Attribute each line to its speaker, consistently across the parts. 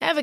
Speaker 1: Ever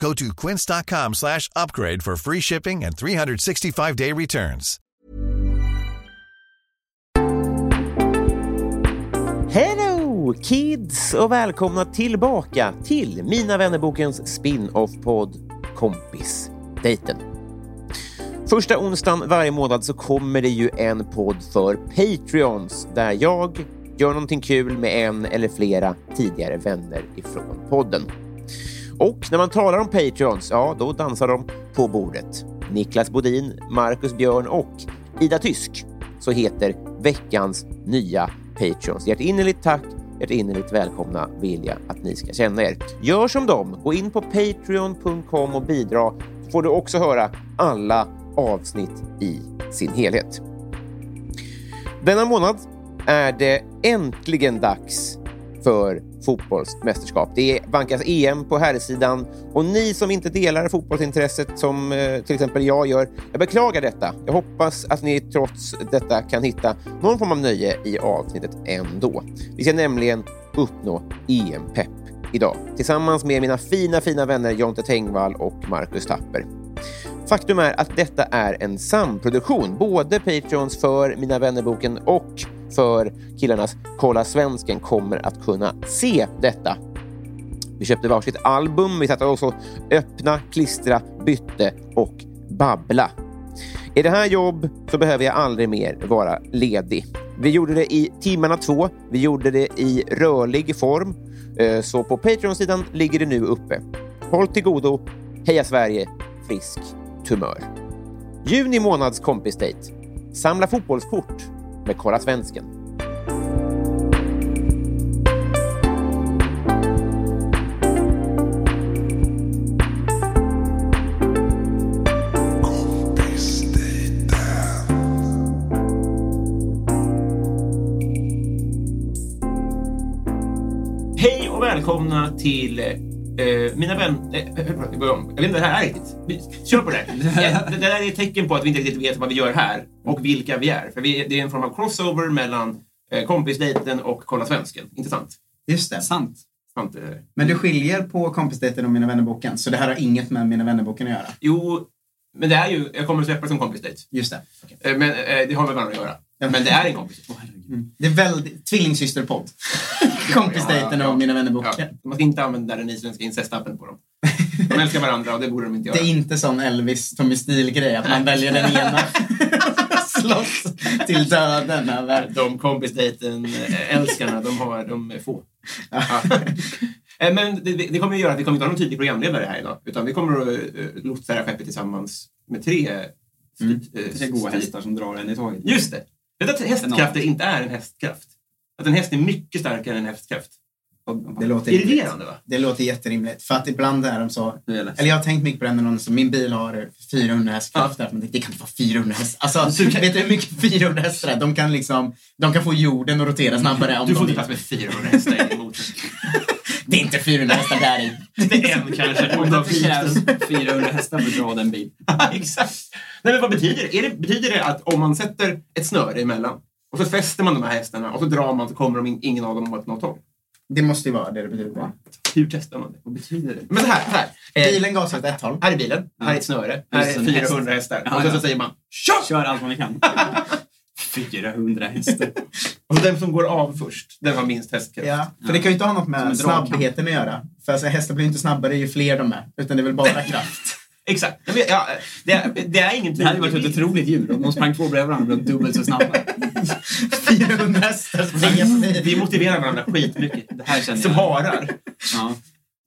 Speaker 2: Go to quince.com slash upgrade for free shipping and 365-day returns.
Speaker 3: Hello kids och välkomna tillbaka till Mina vännerbokens spin-off-podd Kompis Dejten. Första onsdagen varje månad så kommer det ju en podd för Patreons där jag gör någonting kul med en eller flera tidigare vänner ifrån podden. Och när man talar om Patreons, ja då dansar de på bordet. Niklas Bodin, Marcus Björn och Ida Tysk så heter veckans nya Patreons. Hjärtinnerligt tack, hjärtinnerligt välkomna vill jag att ni ska känna er. Gör som dem, gå in på patreon.com och bidra så får du också höra alla avsnitt i sin helhet. Denna månad är det äntligen dags för fotbollsmästerskap. Det vankas EM på herrsidan och ni som inte delar fotbollsintresset som eh, till exempel jag gör, jag beklagar detta. Jag hoppas att ni trots detta kan hitta någon form av nöje i avsnittet ändå. Vi ska nämligen uppnå EM-pepp idag tillsammans med mina fina, fina vänner Jonte Tengvall och Marcus Tapper. Faktum är att detta är en samproduktion, både Patreons för Mina vännerboken och för killarnas Kolla svensken kommer att kunna se detta. Vi köpte varsitt album, vi satte oss och öppna, klistra, bytte och babbla. I det här jobb så behöver jag aldrig mer vara ledig. Vi gjorde det i timmarna två, vi gjorde det i rörlig form. Eh, Så på Patreon-sidan ligger det nu uppe. Håll till godo, heja Sverige, frisk tumör. Juni månads kompisdejt. Samla fotbollskort med Kolla Svensken.
Speaker 4: Hej och välkomna till eh, mina vänner... Eh, jag börjar om. jag vet inte vad det här är riktigt. Vi- Kör på det. här. Det, det där är ett tecken på att vi inte riktigt vet vad vi gör här och vilka vi är. För vi, det är en form av crossover mellan eh, kompisdejten och Kolla svensken. Inte sant?
Speaker 5: Just det, sant.
Speaker 4: sant eh.
Speaker 5: Men det skiljer på kompisdejten och Mina vännerboken. Så det här har inget med Mina vännerboken att göra.
Speaker 4: Jo, men det är ju... Jag kommer att släppa det som kompisdejt.
Speaker 5: Just det. Okej.
Speaker 4: Eh, men eh, det har med varandra att göra.
Speaker 5: Ja.
Speaker 4: Men det är en kompis.
Speaker 5: Mm. Det är väldigt tvillingsysterpodd. kompisdejten och Mina
Speaker 4: Ja,
Speaker 5: vännerboken.
Speaker 4: man ska inte använda den isländska incestappen på dem. De älskar varandra och det borde de inte göra.
Speaker 5: Det är inte sån Elvis, Tommy Stil-grej att man väljer den ena. Slåss till döden över.
Speaker 4: De kompisdejten eh, älskarna, de, har, de är få. Ja. Eh, Men det, det kommer ju göra att vi kommer inte ha någon tydlig programledare här idag. Utan vi kommer att eh, lotsa det här skeppet tillsammans med tre... eh,
Speaker 6: Mm. Tre goa hästar som drar en i taget.
Speaker 4: Just det! Vet du att hästkrafter inte är en hästkraft? Att en häst är mycket starkare än en hästkraft.
Speaker 6: Och-
Speaker 5: Det låter rimligt.
Speaker 4: Irriterande va?
Speaker 5: Det låter jätterimligt. För att ibland är de så...
Speaker 6: Nu är jag ledsen.
Speaker 5: Eller jag har tänkt mycket på det när någon som min bil har 400 hästkrafter. Men det kan inte vara 400 hästar. Alltså,
Speaker 4: Du kan-
Speaker 5: vet du hur mycket 400 hästar är? De kan liksom... De kan få jorden att rotera snabbare om
Speaker 4: Du får
Speaker 5: de
Speaker 4: inte
Speaker 5: vill.
Speaker 4: plats med 400 hästar emot.
Speaker 5: Det är inte 400 hästar där i.
Speaker 4: Inte en kanske. Om
Speaker 6: Det
Speaker 4: de
Speaker 6: krävs
Speaker 4: finns.
Speaker 6: 400 hästar för att dra den bil.
Speaker 4: Ja, Exakt. Nej, men vad betyder det? Är det? Betyder det att om man sätter ett snöre emellan och så fäster man de här hästarna och så drar man så kommer de in, ingen av dem åt något håll?
Speaker 5: Det måste ju vara det det betyder.
Speaker 4: Hur testar man det? Vad betyder det? Men så här, så här. Eh, Mm.
Speaker 5: Bilen gasar åt ett håll.
Speaker 4: Här är bilen, här är ett snöre, här
Speaker 6: Just
Speaker 4: är
Speaker 6: en
Speaker 4: 400 hästar.
Speaker 6: Ja,
Speaker 4: och sen så
Speaker 6: ja.
Speaker 4: säger man Tja!
Speaker 6: Kör allt vad ni kan. 400 hästar.
Speaker 4: Och den som går av först, den har minst hästkraft.
Speaker 5: Ja, för det kan ju inte ha något
Speaker 6: Som en
Speaker 5: med
Speaker 6: dragkamp.
Speaker 5: snabbheten att göra. För alltså, hästar blir ju inte snabbare ju fler de är. Utan det är väl bara kraft.
Speaker 4: Exakt. Jag vet- Ja, det, det är ingen
Speaker 6: Det hade ju varit ett otroligt djur om de sprang på bredvid varandra och dubbelt så snabba.
Speaker 5: 400 hästar springer förbi.
Speaker 4: Vi motiverar varandra skitmycket.
Speaker 6: Det här känner
Speaker 4: Som
Speaker 6: jag.
Speaker 4: harar.
Speaker 6: Ja.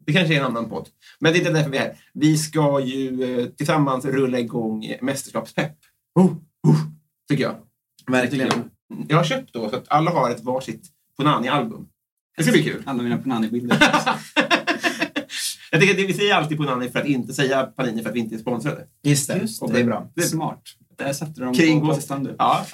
Speaker 4: Det kanske är en annan podd. Men det är inte därför vi är här. Vi ska ju eh, tillsammans rulla igång mästerskapspepp. Oh, oh, tycker jag. Mm.
Speaker 6: Verkligen.
Speaker 4: Jag har köpt då så att alla har ett varsitt Ponani-album. Det ska bli kul.
Speaker 6: Alla mina Panani-bilder.
Speaker 4: Jag tänker att det, vi säger alltid Ponani för att inte säga Panini för att vi inte är sponsrade.
Speaker 5: Just det,
Speaker 6: Just
Speaker 5: det är bra.
Speaker 6: Smart. Där satte de
Speaker 4: Kring
Speaker 6: på
Speaker 4: oss.
Speaker 6: kostan du.
Speaker 4: Ja,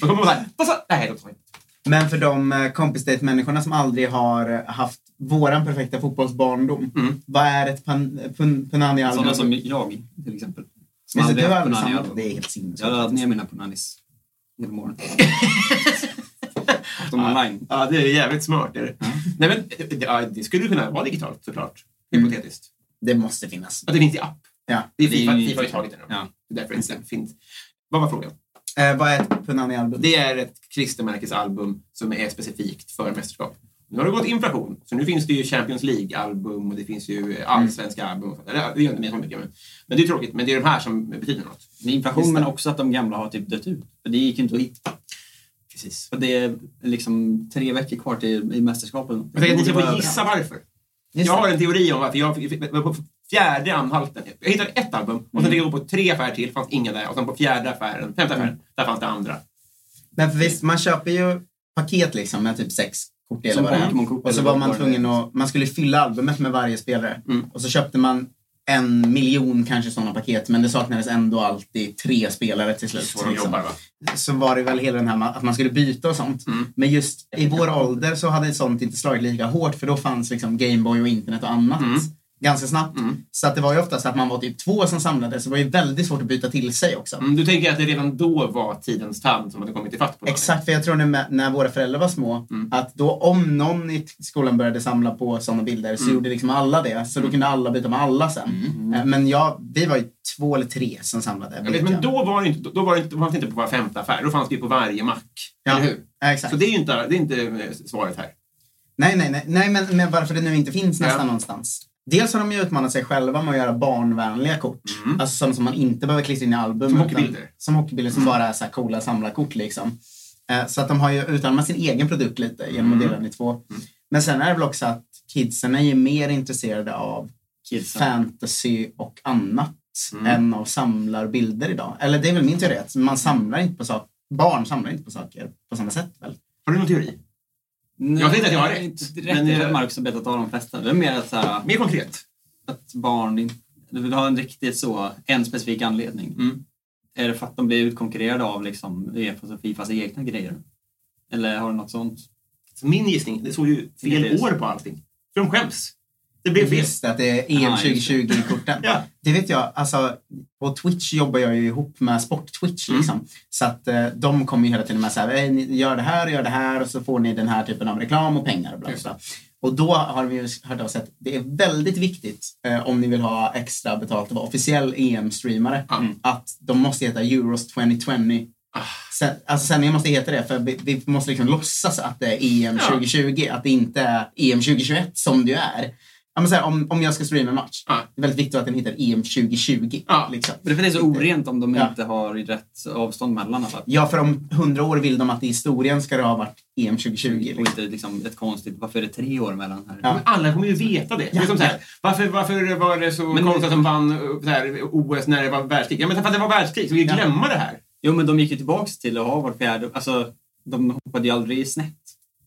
Speaker 4: då kommer man såhär. Vad sa... Nej, det var inte.
Speaker 5: Men för de eh, kompisdate-människorna som aldrig har haft våran perfekta fotbollsbarndom.
Speaker 4: Mm.
Speaker 5: Vad är ett pan- pun- Punani-album?
Speaker 6: Sådana som jag, till exempel. Som
Speaker 5: Visst,
Speaker 6: aldrig
Speaker 5: du har
Speaker 6: haft
Speaker 5: aldrig
Speaker 6: Panani.
Speaker 5: samlat? Det är helt
Speaker 6: Jag har
Speaker 5: sinnessjukt.
Speaker 6: laddat ner mina Pananis genom åren. Haft dem online.
Speaker 4: Ja, det är jävligt smart. Är det. Nej, men, det- ja, det skulle ju kunna vara digitalt såklart. Hypotetiskt.
Speaker 5: Det måste finnas.
Speaker 4: Att det finns i app.
Speaker 5: Ja.
Speaker 4: Det är Fifa,
Speaker 6: Det är ju-
Speaker 4: Fifa har ju tagit den.
Speaker 6: Ja.
Speaker 4: Det är därför det inte finns. Vad var frågan?
Speaker 5: Eh, vad är ett Punani-album?
Speaker 4: Det är ett klistermärkesalbum som är specifikt för mästerskap. Nu har det gått inflation, så nu finns det ju Champions League-album och det finns
Speaker 5: Mm.
Speaker 4: ju allsvenska album. Och sånt. Eller, det gör inte mig så mycket, men, men det är tråkigt. Men det är de här som betyder något.
Speaker 6: Det är inflation men också att de gamla har typ dött ut. För det gick ju inte att hitta.
Speaker 4: Precis.
Speaker 6: Och det är liksom tre veckor kvar till i mästerskapet.
Speaker 4: Jag tänker att ni ska
Speaker 6: Borde
Speaker 4: få
Speaker 6: vara
Speaker 4: gissa
Speaker 6: överallt.
Speaker 4: varför.
Speaker 5: Just
Speaker 4: jag
Speaker 5: det.
Speaker 4: har en teori om varför. Jag fick- var på fjärde anhalten. Jag hittade ett album och
Speaker 5: Mm.
Speaker 4: sen fick jag gå på tre affärer till. fanns inga där. Och sen på fjärde affären, femte
Speaker 5: Mm.
Speaker 4: affären, där fanns det andra.
Speaker 5: Men för visst, man köper ju paket liksom med typ sex kort eller
Speaker 6: Som
Speaker 5: vad det är.
Speaker 6: Pokémon-kort
Speaker 5: Och så
Speaker 6: eller
Speaker 5: var man
Speaker 6: vad det
Speaker 5: tvungen
Speaker 6: är.
Speaker 5: att, man skulle fylla albumet med varje spelare.
Speaker 4: Mm.
Speaker 5: Och så köpte man en miljon kanske sådana paket, men det saknades ändå alltid tre spelare till
Speaker 4: Det är
Speaker 5: slut.
Speaker 4: så de
Speaker 5: liksom.
Speaker 4: jobbar, va?
Speaker 5: så var det väl hela den här ma- att man skulle byta och sånt.
Speaker 4: Mm.
Speaker 5: Men just i vår ålder så hade sånt inte slagit lika hårt för då fanns liksom Gameboy och internet och annat
Speaker 4: Mm.
Speaker 5: ganska snabbt.
Speaker 4: Mm.
Speaker 5: Så att det var ju oftast att man var typ två som samlades så det var ju väldigt svårt att byta till sig också.
Speaker 4: Mm, du tänker att det redan då var tidens tand som hade kommit i fatt på något?
Speaker 5: Exakt, för jag tror nu med, när våra föräldrar var små
Speaker 4: Mm.
Speaker 5: att då om någon i t- skolan började samla på sådana bilder så
Speaker 4: Mm.
Speaker 5: gjorde liksom alla det. Så då kunde alla byta med alla sen. Eh, Men jag, vi var ju två eller tre som samlade.
Speaker 4: Jag
Speaker 5: vet
Speaker 4: vet, Mm. men
Speaker 5: jag.
Speaker 4: då var det inte, då var det inte, då fanns det inte på var femte affär. Då fanns det ju på varje mack.
Speaker 5: Ja.
Speaker 4: Eller hur?
Speaker 5: Ja, Exakt.
Speaker 4: Så det är ju inte, det är inte eh, svaret här.
Speaker 5: Nej, nej, nej, nej men, men varför det nu inte finns nästan
Speaker 4: Ja.
Speaker 5: någonstans. Dels har de ju utmanat sig själva med att göra barnvänliga kort.
Speaker 4: Mm.
Speaker 5: Alltså sådana som man inte behöver klistra in i album.
Speaker 4: Som Mm.
Speaker 5: utan-
Speaker 4: hockeybilder.
Speaker 5: Som hockeybilder som bara är så här coola samlarkort liksom. Eh, Så att de har ju utarmat sin egen produkt lite genom
Speaker 4: Mm.
Speaker 5: att dela den i två. Men sen är det väl också att kidsen är ju mer intresserade av
Speaker 6: Kidsen.
Speaker 5: fantasy och annat
Speaker 4: Mm.
Speaker 5: än av samlarbilder idag. Eller det är väl min teori att man samlar inte på saker. Barn samlar inte på saker på samma sätt väl?
Speaker 4: Har du någon teori?
Speaker 6: Nej,
Speaker 4: Jag vet inte att jag har
Speaker 6: det är
Speaker 4: rätt,
Speaker 6: inte
Speaker 4: men
Speaker 6: rätt. Jag tror
Speaker 4: jag-
Speaker 6: att Marcus har bett av de flesta. Det är mer att, så här,
Speaker 4: Mer konkret.
Speaker 6: att barn inte du vill ha en riktigt så, en specifik anledning.
Speaker 4: Mm.
Speaker 6: Är det för att de blir utkonkurrerade av liksom Uefas och Fifas egna grejer? Eller har du något sånt?
Speaker 4: Så min gissning, det såg ju
Speaker 6: Ingen
Speaker 4: fel
Speaker 6: gissning.
Speaker 4: år på allting. För de skäms. Det blev fel.
Speaker 5: Visst, att det är EM
Speaker 6: Ah, just det.
Speaker 5: 2020-korten.
Speaker 4: Ja.
Speaker 5: Det vet jag. Alltså, på Twitch jobbar jag ju ihop med Sport-Twitch. Liksom. Så att eh, de kommer ju hela tiden med så här, "Ey, ni gör det här och gör det här och så får ni den här typen av reklam och pengar. Och, bla, bla, bla. och då har vi ju hört av oss att det är väldigt viktigt eh, om ni vill ha extra betalt att vara officiell EM-streamare.
Speaker 4: Ja. Mm. Ah.
Speaker 5: Att de måste heta Euros 2020. Sen, alltså sändningen måste heta det för vi, vi måste liksom låtsas att det är E EM
Speaker 4: Ja.
Speaker 5: 2020, att det inte är E EM 2021 som det ju är. Ja, men så här, om, om jag ska streama en match,
Speaker 4: Ja.
Speaker 5: det är väldigt viktigt att den heter E EM 2020.
Speaker 4: Ja.
Speaker 5: Liksom.
Speaker 6: Men det är för det är så orent om de
Speaker 5: Ja.
Speaker 6: inte har rätt avstånd mellan alla.
Speaker 5: Ja, för om hundra år vill de att i historien ska det ha varit EM 2020.
Speaker 6: Och
Speaker 5: Liksom.
Speaker 6: inte liksom ett konstigt, varför är det tre år mellan här?
Speaker 5: Ja.
Speaker 4: Men alla kommer ju veta det. det är som så här, varför, varför var det så
Speaker 6: Men-
Speaker 4: konstigt att de vann eh, så här, OS när det var världskrig? Ja, men för att det var världskrig, så vi
Speaker 5: Ja.
Speaker 4: glömmer det här.
Speaker 6: Jo, men de gick ju tillbaks till att ha vart fjärde... Alltså, de hoppade ju aldrig snett.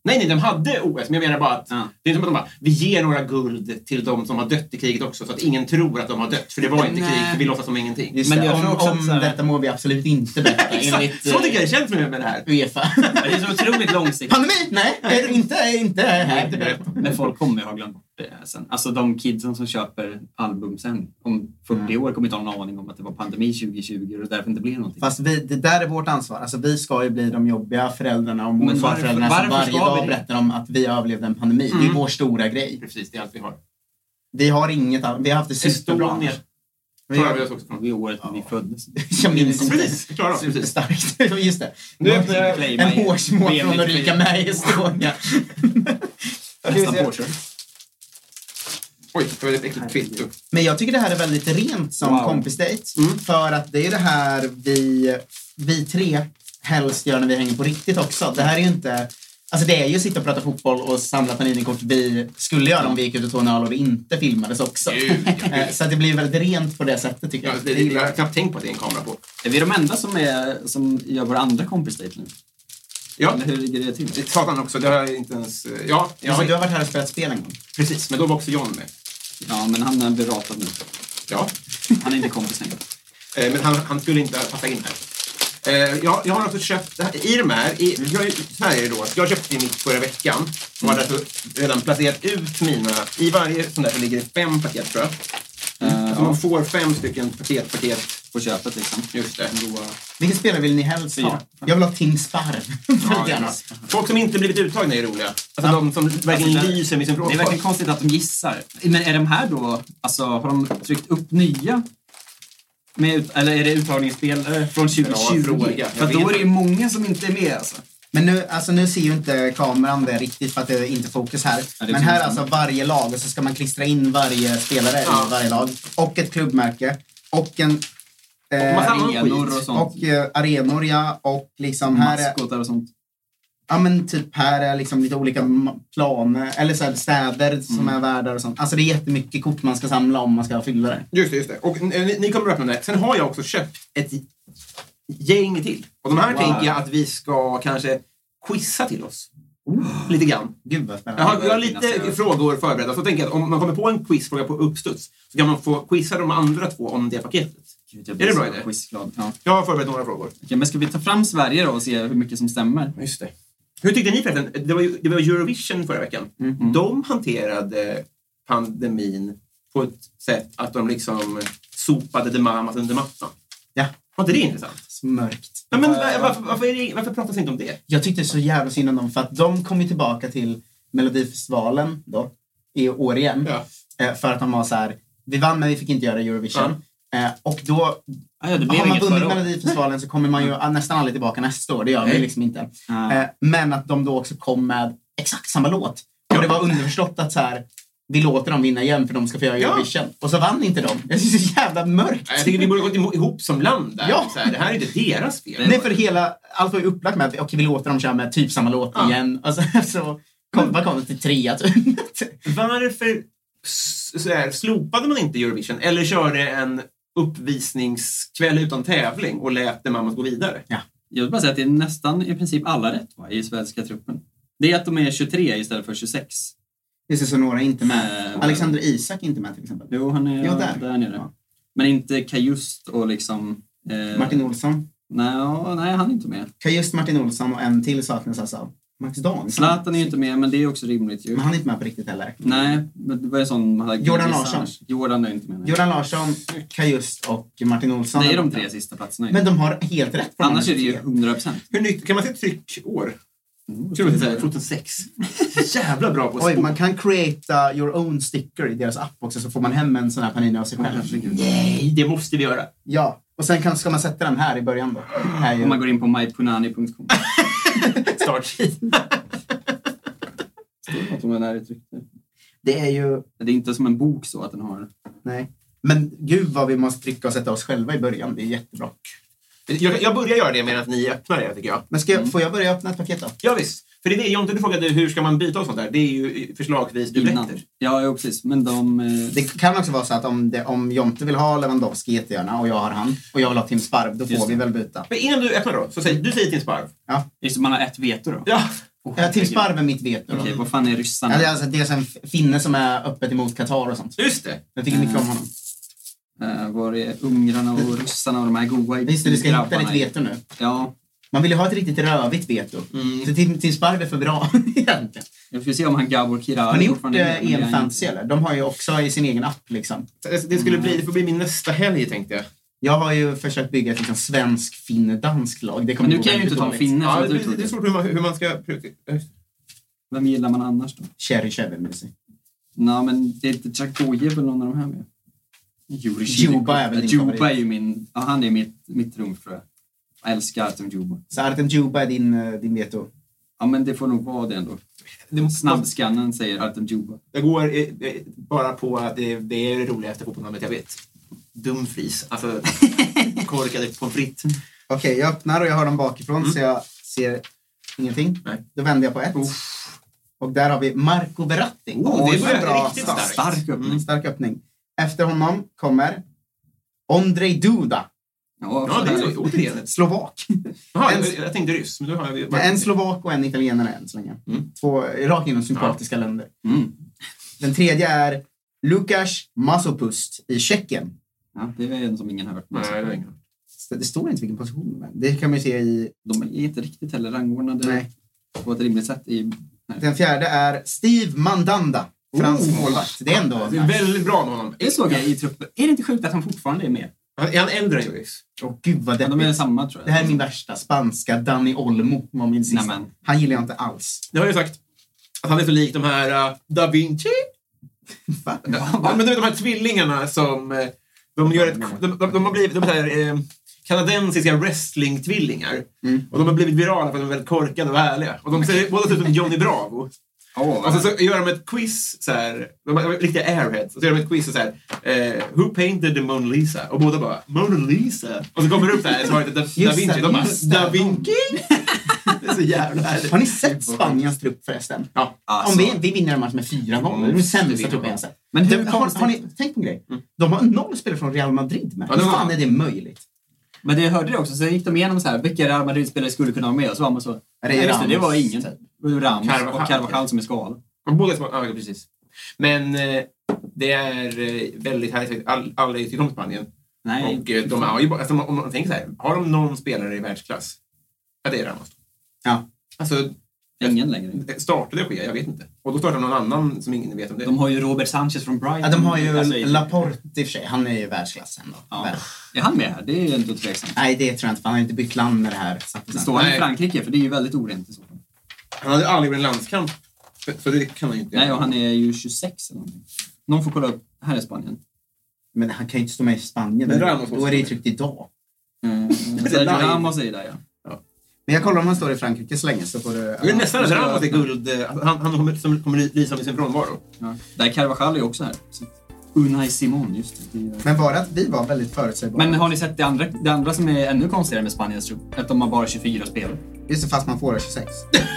Speaker 4: Nej, nej, de hade OS, men jag menar bara att
Speaker 6: Ja.
Speaker 4: det är som att de bara, vi ger några guld till de som har dött i kriget också så att ingen tror att de har dött, för det var inte
Speaker 6: Nej.
Speaker 4: krig, för vi låtsas som ingenting.
Speaker 5: Just
Speaker 6: Men
Speaker 5: det,
Speaker 6: jag
Speaker 5: om,
Speaker 6: tror också att
Speaker 5: om
Speaker 6: så här-
Speaker 5: detta må vi absolut inte berätta enligt
Speaker 4: Så tycker jag
Speaker 6: eh,
Speaker 4: det känns med med det här.
Speaker 5: Uefa.
Speaker 6: Det är så otroligt långsiktigt.
Speaker 5: Pandemi? Nej, är det inte, är inte här.
Speaker 4: Inte berätta.
Speaker 6: Men folk kommer ju ha glömt bort det sen. Alltså de kidsen som köper album sen om 40
Speaker 4: Mm.
Speaker 6: år kommer inte ha någon aning om att det var pandemi 2020 och därför inte blir någonting.
Speaker 5: Fast vi, det där är vårt ansvar. Alltså, vi ska ju bli de jobbiga föräldrarna och mor och
Speaker 6: Men varför-
Speaker 5: farföräldrarna som
Speaker 6: varför
Speaker 5: varje
Speaker 6: ska vi
Speaker 5: dag
Speaker 6: det?
Speaker 5: berättar om att vi överlevde en pandemi. Det är vår stora grej.
Speaker 4: Precis, det är allt vi har.
Speaker 5: Vi har inget annat. Vi har haft det superbra.
Speaker 4: Estonia
Speaker 5: annars. Vi
Speaker 4: klarar vi
Speaker 5: har,
Speaker 4: oss också
Speaker 6: Det
Speaker 4: från.
Speaker 6: var ju året vi föddes.
Speaker 5: jag minns inte.
Speaker 4: Precis, vi klarar oss. Precis.
Speaker 5: Superstarkt. Just det.
Speaker 4: Nu öppnar jag-
Speaker 5: en hårsmål från Ulrika med i Estonia.
Speaker 6: Nästan påkörd.
Speaker 4: Oj, det var ett äckligt kvitto.
Speaker 5: Men jag tycker det här är väldigt rent som
Speaker 6: Wow.
Speaker 5: kompisdejt.
Speaker 4: Mm.
Speaker 5: För att det är det här vi, vi tre helst gör när vi hänger på riktigt också. Det här är ju inte... Alltså det är ju att sitta och prata fotboll och samla Panini-kort vi skulle göra om vi gick ut och tog en öl och det inte filmades också.
Speaker 4: Gud, ja.
Speaker 5: Eh, Så att det blir väldigt rent på det sättet tycker
Speaker 4: Ja,
Speaker 5: jag.
Speaker 4: det, det, jag har knappt tänkt på att det är en kamera på.
Speaker 6: Är vi de enda som, är, som gör vår andra kompisdejt nu?
Speaker 4: Ja,
Speaker 6: Eller hur ligger det till?
Speaker 4: det satan också. Det har jag inte ens... Ja, jag
Speaker 5: Alltså, du
Speaker 4: har,
Speaker 5: har varit här och spelat spel en gång.
Speaker 4: precis. Men då var också John med.
Speaker 6: Ja, men han är beratad nu.
Speaker 4: Ja.
Speaker 6: Han är inte kompis längre.
Speaker 4: Eh, Men han, han skulle inte passa in här. Eh, Jag, jag har också köpt, det här- i de här, i, jag, har ju- så här är det då, att jag köpte mitt förra veckan och har därför redan placerat ut mina, i varje sån där så ligger det fem paket tror jag.
Speaker 6: Mm.
Speaker 4: Så man får fem stycken paket, paket,
Speaker 6: På köpet liksom.
Speaker 4: just det.
Speaker 5: Vilken spelare vill ni helst ha? Jag vill ha Tim Sparv.
Speaker 4: Ja, gärna. Folk som inte blivit uttagna är roliga. Alltså de som verkligen
Speaker 6: Alltså, det-
Speaker 4: lyser med sin
Speaker 6: Det är verkligen
Speaker 4: frånvaro.
Speaker 6: konstigt att de gissar. Men är de här då, alltså har de tryckt upp nya? Med, ut- eller är det uttagningsspelare från 2020?
Speaker 4: fråga. Jag
Speaker 6: För
Speaker 4: vet
Speaker 6: då är det ju
Speaker 4: inte.
Speaker 6: många som inte är med alltså.
Speaker 5: Men nu, alltså nu ser ju inte kameran det riktigt för att det är inte fokus här.
Speaker 6: det är
Speaker 5: Men här är
Speaker 6: synd.
Speaker 5: alltså varje lag och så ska man klistra in varje spelare i varje lag. Och ett klubbmärke. Och en...
Speaker 4: massa
Speaker 5: Eh,
Speaker 4: annat skit.
Speaker 6: Arenor och sånt.
Speaker 5: och eh, arenor ja, och liksom här är,
Speaker 6: Maskotar och sånt.
Speaker 5: ja men typ här är liksom lite olika ma- planer, eller så här städer som är värdar och sånt. Alltså det är jättemycket kort man ska samla om man ska fylla det.
Speaker 4: Just det, just det. Och eh, ni, ni kommer att öppna det. Sen har jag också köpt ett gäng till. Och de här
Speaker 6: Wow.
Speaker 4: tänker jag att vi ska kanske quizza till oss. Lite grann.
Speaker 5: Gud vad spännande.
Speaker 4: Jag har, jag har
Speaker 6: Det finns,
Speaker 4: lite
Speaker 6: ja.
Speaker 4: frågor förberedda. Så tänker jag att om man kommer på en quizfråga på uppstuds så kan man få quizza de andra två om det paketet.
Speaker 6: Gud, jag
Speaker 4: Är
Speaker 6: blir
Speaker 4: det
Speaker 6: så
Speaker 4: bra idé?
Speaker 6: Quizglad. Ja.
Speaker 4: Jag har förberett några frågor.
Speaker 6: Okej, men ska vi ta fram Sverige då och se hur mycket som stämmer?
Speaker 4: Just det. Hur tyckte ni förresten? Det var, ju- det var Eurovision förra veckan. De hanterade pandemin på ett sätt att de liksom sopade The Mamas under mattan.
Speaker 5: Ja,
Speaker 4: Var inte det intressant?
Speaker 5: mörkt.
Speaker 4: Ja, men va- varför, varför, är det, varför pratas inte om det?
Speaker 5: Jag tyckte så jävla synd om dem för att de kom ju tillbaka till Melodifestivalen då, i år igen.
Speaker 4: Ja.
Speaker 5: Eh, För att de var så här, vi vann men vi fick inte göra Eurovision. Eh, Och då,
Speaker 6: Ah, ja, det blev
Speaker 5: har man
Speaker 6: inget
Speaker 5: vunnit
Speaker 6: förra året.
Speaker 5: Melodifestivalen så kommer man ju ah, nästan aldrig tillbaka nästa år. Det gör man ju
Speaker 4: Nej.
Speaker 5: liksom inte.
Speaker 6: Ah.
Speaker 5: Eh, Men att de då också kom med exakt samma låt. Och det var underförstått att så här, vi låter dem vinna igen för de ska få göra
Speaker 4: Ja.
Speaker 5: Eurovision. Och så vann inte de. Jag tycker det är så jävla mörkt.
Speaker 4: Nej, Jag tycker vi borde gått imo- ihop som land där.
Speaker 5: Ja.
Speaker 4: Så här, det här är inte deras fel.
Speaker 5: Nej, för hela, allt var ju upplagt med att okej, vi låter dem köra med typ samma låt
Speaker 4: Ja.
Speaker 5: igen. Och så, så
Speaker 6: Mm.
Speaker 5: kom, vad kom det till trea typ?
Speaker 4: Varför s- så här, slopade man inte Eurovision eller körde en uppvisningskväll utan tävling och lät The Mamas gå vidare?
Speaker 6: Jag vill bara säga att det är nästan i princip alla rätt va, i svenska truppen. Det är att de är 23 istället för 26.
Speaker 5: Just det, så några är inte
Speaker 6: Eh,
Speaker 5: med. Alexander Isak är inte med till exempel.
Speaker 6: Jo, han är
Speaker 5: Jo, där.
Speaker 6: nere.
Speaker 5: Ja.
Speaker 6: Men inte Kajust och liksom... Eh,
Speaker 5: Martin Olsson.
Speaker 6: Nej, nej, han är inte med.
Speaker 5: Kan just Martin Olsson och en till saknas alltså. Max Danielsson.
Speaker 6: Zlatan är ju inte med, men det är också rimligt ju.
Speaker 5: Men han är inte med på riktigt heller.
Speaker 6: Nej, men det var ju sån man hade
Speaker 5: Jordan
Speaker 6: gissat
Speaker 5: Larsson.
Speaker 6: annars. Jordan är inte med. nej.
Speaker 5: Jordan Larsson, Kajust och Martin Olsson.
Speaker 6: Det är de tre sista platserna ju.
Speaker 5: Men de har helt rätt på de
Speaker 6: Annars
Speaker 5: här
Speaker 6: är det ju
Speaker 5: tre.
Speaker 6: 100 procent.
Speaker 4: Hur nytt, kan man säga tryckår? Tror du att det är så här 2006? Jävla bra på
Speaker 5: Oj,
Speaker 4: spår.
Speaker 5: man kan creata your own sticker i deras app också så får man hem en sån här Panini av sig själv.
Speaker 4: Nej, det måste vi göra.
Speaker 5: Ja, och sen kan, ska man sätta den här i början då. Här är
Speaker 6: Om man
Speaker 5: ju.
Speaker 6: går in på mypunani.com.
Speaker 4: Startsheet.
Speaker 6: Att de är nära tryckt nu.
Speaker 5: Det är ju...
Speaker 6: Det är inte som en bok så att den har...
Speaker 5: Nej. Men gud vad vi måste trycka och sätta oss själva i början. Det är jättebra.
Speaker 4: Jag, jag börjar göra det medan ni öppnar det, tycker jag.
Speaker 5: Men ska jag,
Speaker 6: Mm.
Speaker 5: får jag börja öppna ett paket då?
Speaker 4: Ja, visst. För det är det, Jonte, du frågade hur ska man byta och sånt där. Det är ju förslagsvis
Speaker 6: Innan.
Speaker 4: dubbletter.
Speaker 6: Ja, jo, precis. Men de... eh,
Speaker 5: Det kan också vara så att om, det, om Jonte vill ha Lewandowski jättegärna och jag har han och jag vill ha Tim Sparv, då får
Speaker 6: Just
Speaker 5: vi väl byta.
Speaker 4: Men innan du öppnar då, så säg, du säger din sparv.
Speaker 6: Just det, man har ett veto då.
Speaker 4: Ja.
Speaker 6: Åh,
Speaker 5: Ja, Eh, Tim
Speaker 6: herregud.
Speaker 5: Sparv är mitt veto. då.
Speaker 6: Okej, vad fan är ryssarna?
Speaker 5: Ja, det är alltså dels en finne som är öppet emot Qatar och sånt.
Speaker 4: Just det.
Speaker 5: Jag tycker mycket om
Speaker 6: Mm.
Speaker 5: honom.
Speaker 6: Eh, var är ungrarna och ryssarna och de här goa
Speaker 5: Just det, du ska hitta
Speaker 6: grabbarna
Speaker 5: ditt
Speaker 6: i-
Speaker 5: veto nu.
Speaker 6: Ja,
Speaker 5: Man vill ju ha ett riktigt rövigt veto.
Speaker 6: Mm.
Speaker 5: Så Tim, Tim Sparv är för bra egentligen.
Speaker 6: jag får se om han Gabor Kirari
Speaker 5: Har ni gjort
Speaker 6: fortfarande är med,
Speaker 5: eh,
Speaker 6: men det är
Speaker 5: EM
Speaker 6: han
Speaker 5: Fantasy
Speaker 6: inte.
Speaker 5: eller? De har ju också i sin egen app liksom.
Speaker 4: Det, det, skulle bli, det får bli min nästa helg, tänkte jag.
Speaker 5: Jag har ju försökt bygga ett liksom, svensk finn dansk lag. Det kommer
Speaker 6: Men
Speaker 5: gå
Speaker 6: nu kan jag ju
Speaker 5: väldigt
Speaker 6: inte ta
Speaker 5: dåligt.
Speaker 6: finne som
Speaker 4: Ja,
Speaker 6: att
Speaker 4: det,
Speaker 6: du
Speaker 4: det, det är
Speaker 6: trodde.
Speaker 4: svårt hur man, hur man ska... prioritera.
Speaker 6: Vem gillar man annars då?
Speaker 5: Cherry Chevy med sig.
Speaker 6: Nej, men det är inte Djakojev eller någon av de här med. Juri
Speaker 5: Djuba är väl din favorit?
Speaker 6: Juba är ju min... Ja, han är mitt, mitt rum, tror jag. Jag älskar Artem Juba.
Speaker 5: Så Artem Djuba är din, eh, din veto.
Speaker 6: Ja, men det får nog vara det ändå.
Speaker 4: Det-
Speaker 6: Snabbskannen säger Artem Djuba.
Speaker 4: Jag går eh, eh, bara på att det, det är det roligaste fotbollsnamnet jag vet. Dumfries. Alltså, korkade pommes frites.
Speaker 5: Okej, jag öppnar och jag har dem bakifrån så jag ser ingenting.
Speaker 4: Mm. Nej.
Speaker 5: Då vänder jag på ett. Och där har vi Marco Verratti.
Speaker 4: Oh, det
Speaker 5: Oj,
Speaker 4: börjar
Speaker 5: bra
Speaker 4: riktigt
Speaker 5: start.
Speaker 4: starkt.
Speaker 6: Stark öppning.
Speaker 5: Mm, stark öppning. Efter honom kommer Ondrej Duda,
Speaker 4: Ja, det är så. Återigen.
Speaker 5: slovak.
Speaker 4: Jaha,
Speaker 5: En-
Speaker 4: jag, jag tänkte ryss, men då har jag...
Speaker 5: En slovak och en italienare än så länge.
Speaker 4: Mm.
Speaker 5: Två rakt inom sympatiska länder.
Speaker 6: Mm.
Speaker 5: Den tredje är Lukas Masopust i Tjeckien.
Speaker 6: Ja, det är en som ingen har hört.
Speaker 4: Nej, det är ingen.
Speaker 5: Så Det står inte vilken position men Det kan man ju se i...
Speaker 6: De är inte riktigt heller rangordnade
Speaker 5: Nej.
Speaker 6: på ett rimligt sätt. I...
Speaker 5: Den fjärde är Steve Mandanda, fransk
Speaker 4: Oh.
Speaker 5: målvakt. Det är ändå...
Speaker 4: Det är väldigt bra med honom.
Speaker 6: Det såg jag i truppen. Är det inte sjukt att han fortfarande är med?
Speaker 4: Han- Är han äldre än Joris?
Speaker 5: Åh, gud vad
Speaker 6: Men de är
Speaker 5: deppigt.
Speaker 6: samma tror jag.
Speaker 5: Det här är min värsta. Spanska Dani Olmo var min sista.
Speaker 6: Nämen.
Speaker 5: Han gillar jag inte alls.
Speaker 4: Det har jag ju sagt. Att han är så lik de här eh, da Vinci.
Speaker 5: Va?
Speaker 4: Ja, men du vet de här tvillingarna som... eh, De, gör
Speaker 5: Mm.
Speaker 4: ett, de, de, de har blivit de här, eh, kanadensiska wrestling-tvillingar.
Speaker 5: Mm.
Speaker 4: Och de har blivit virala för att de är väldigt korkade och ärliga. Och de ser båda ut som Johnny Bravo.
Speaker 5: Mm.
Speaker 6: Åh,
Speaker 4: Och så, så gör de ett quiz, så här, de är riktiga airheads, och så gör de ett quiz och så här, eh, Who painted the Mona Lisa? Och båda bara Mona Lisa? Och så kommer det upp där svaret är Da, da
Speaker 5: Just
Speaker 4: Vinci.
Speaker 5: det,
Speaker 4: De bara
Speaker 5: just det.
Speaker 4: Da Vinci? Det är så jävla härligt.
Speaker 5: Har ni sett Spaniens trupp förresten?
Speaker 4: Ja.
Speaker 5: Om vi, vi vinner en match med fyra gånger. Det är den sämsta
Speaker 4: vinna.
Speaker 5: truppen jag har sett.
Speaker 6: Men hur
Speaker 5: Du, har,
Speaker 6: konstigt-
Speaker 5: har ni tänkt på en grej? De har noll spelare från Real Madrid med.
Speaker 4: Ja,
Speaker 5: Hur
Speaker 4: det var-
Speaker 5: fan är det möjligt?
Speaker 6: Men det hörde det också, så gick de igenom så här, vilka Real Madrid-spelare skulle kunna vara med och så var man så...
Speaker 5: det
Speaker 6: nej, just det, det var
Speaker 5: Ramos,
Speaker 6: ingen.
Speaker 5: typ?
Speaker 6: Det var Ramos
Speaker 4: Carvajal.
Speaker 6: och Carvajal som är skadad.
Speaker 4: De båda små, ja, precis. Men eh, det är eh, väldigt härligt. All, alla tycker om Spanien.
Speaker 6: Nej.
Speaker 4: Och eh, de har ju bara, alltså, om man tänker så här, har de någon spelare i världsklass? Ja, det är Ramos.
Speaker 5: Ja.
Speaker 4: Alltså,
Speaker 6: Ingen längre.
Speaker 4: startade det ske? Jag vet inte. Och då startar någon annan som ingen vet om det
Speaker 6: De har ju Robert Sanchez från Brighton.
Speaker 5: Ja, de har ju
Speaker 6: Alltså, i-
Speaker 5: Laporte i och för sig. Han är ju världsklass ändå.
Speaker 6: Ja.
Speaker 5: Vär-
Speaker 6: Är han med här? Det är ju inte tveksamt.
Speaker 5: Nej, det tror jag inte. för Han har inte bytt land med det här.
Speaker 6: Står han i
Speaker 4: Nej.
Speaker 6: Frankrike? För det är ju väldigt orent i så fall.
Speaker 4: Han hade aldrig vunnit landskamp. Så- Så det kan han ju inte
Speaker 6: Nej, och han är ju 26 eller någonting. Någon får kolla upp. Här är Spanien.
Speaker 5: Men han kan ju inte stå med i Spanien.
Speaker 4: Men Ramos
Speaker 5: Då är det ju tryckt idag.
Speaker 6: Mm. Sergio
Speaker 4: live.
Speaker 6: Ramos är ju där ja.
Speaker 5: Men jag kollar om han står i Frankrike så länge så får du...
Speaker 4: Det är nästan att Ramos är guld. eh, Han, han kommer, som, kommer lysa med sin frånvaro.
Speaker 6: ja. Där Carvajal är ju också här. Så. Unai Simon, just det. det. är-
Speaker 5: Men bara att vi var väldigt förutsägbara.
Speaker 6: Men har ni sett det andra, det andra som är ännu konstigare med Spaniens trupp? Att de har bara 24 spelare.
Speaker 5: Just det, fast man får det 26.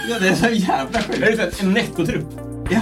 Speaker 6: Ja, det är så jävla
Speaker 4: Det är ju så här en nettotrupp.
Speaker 6: Ja.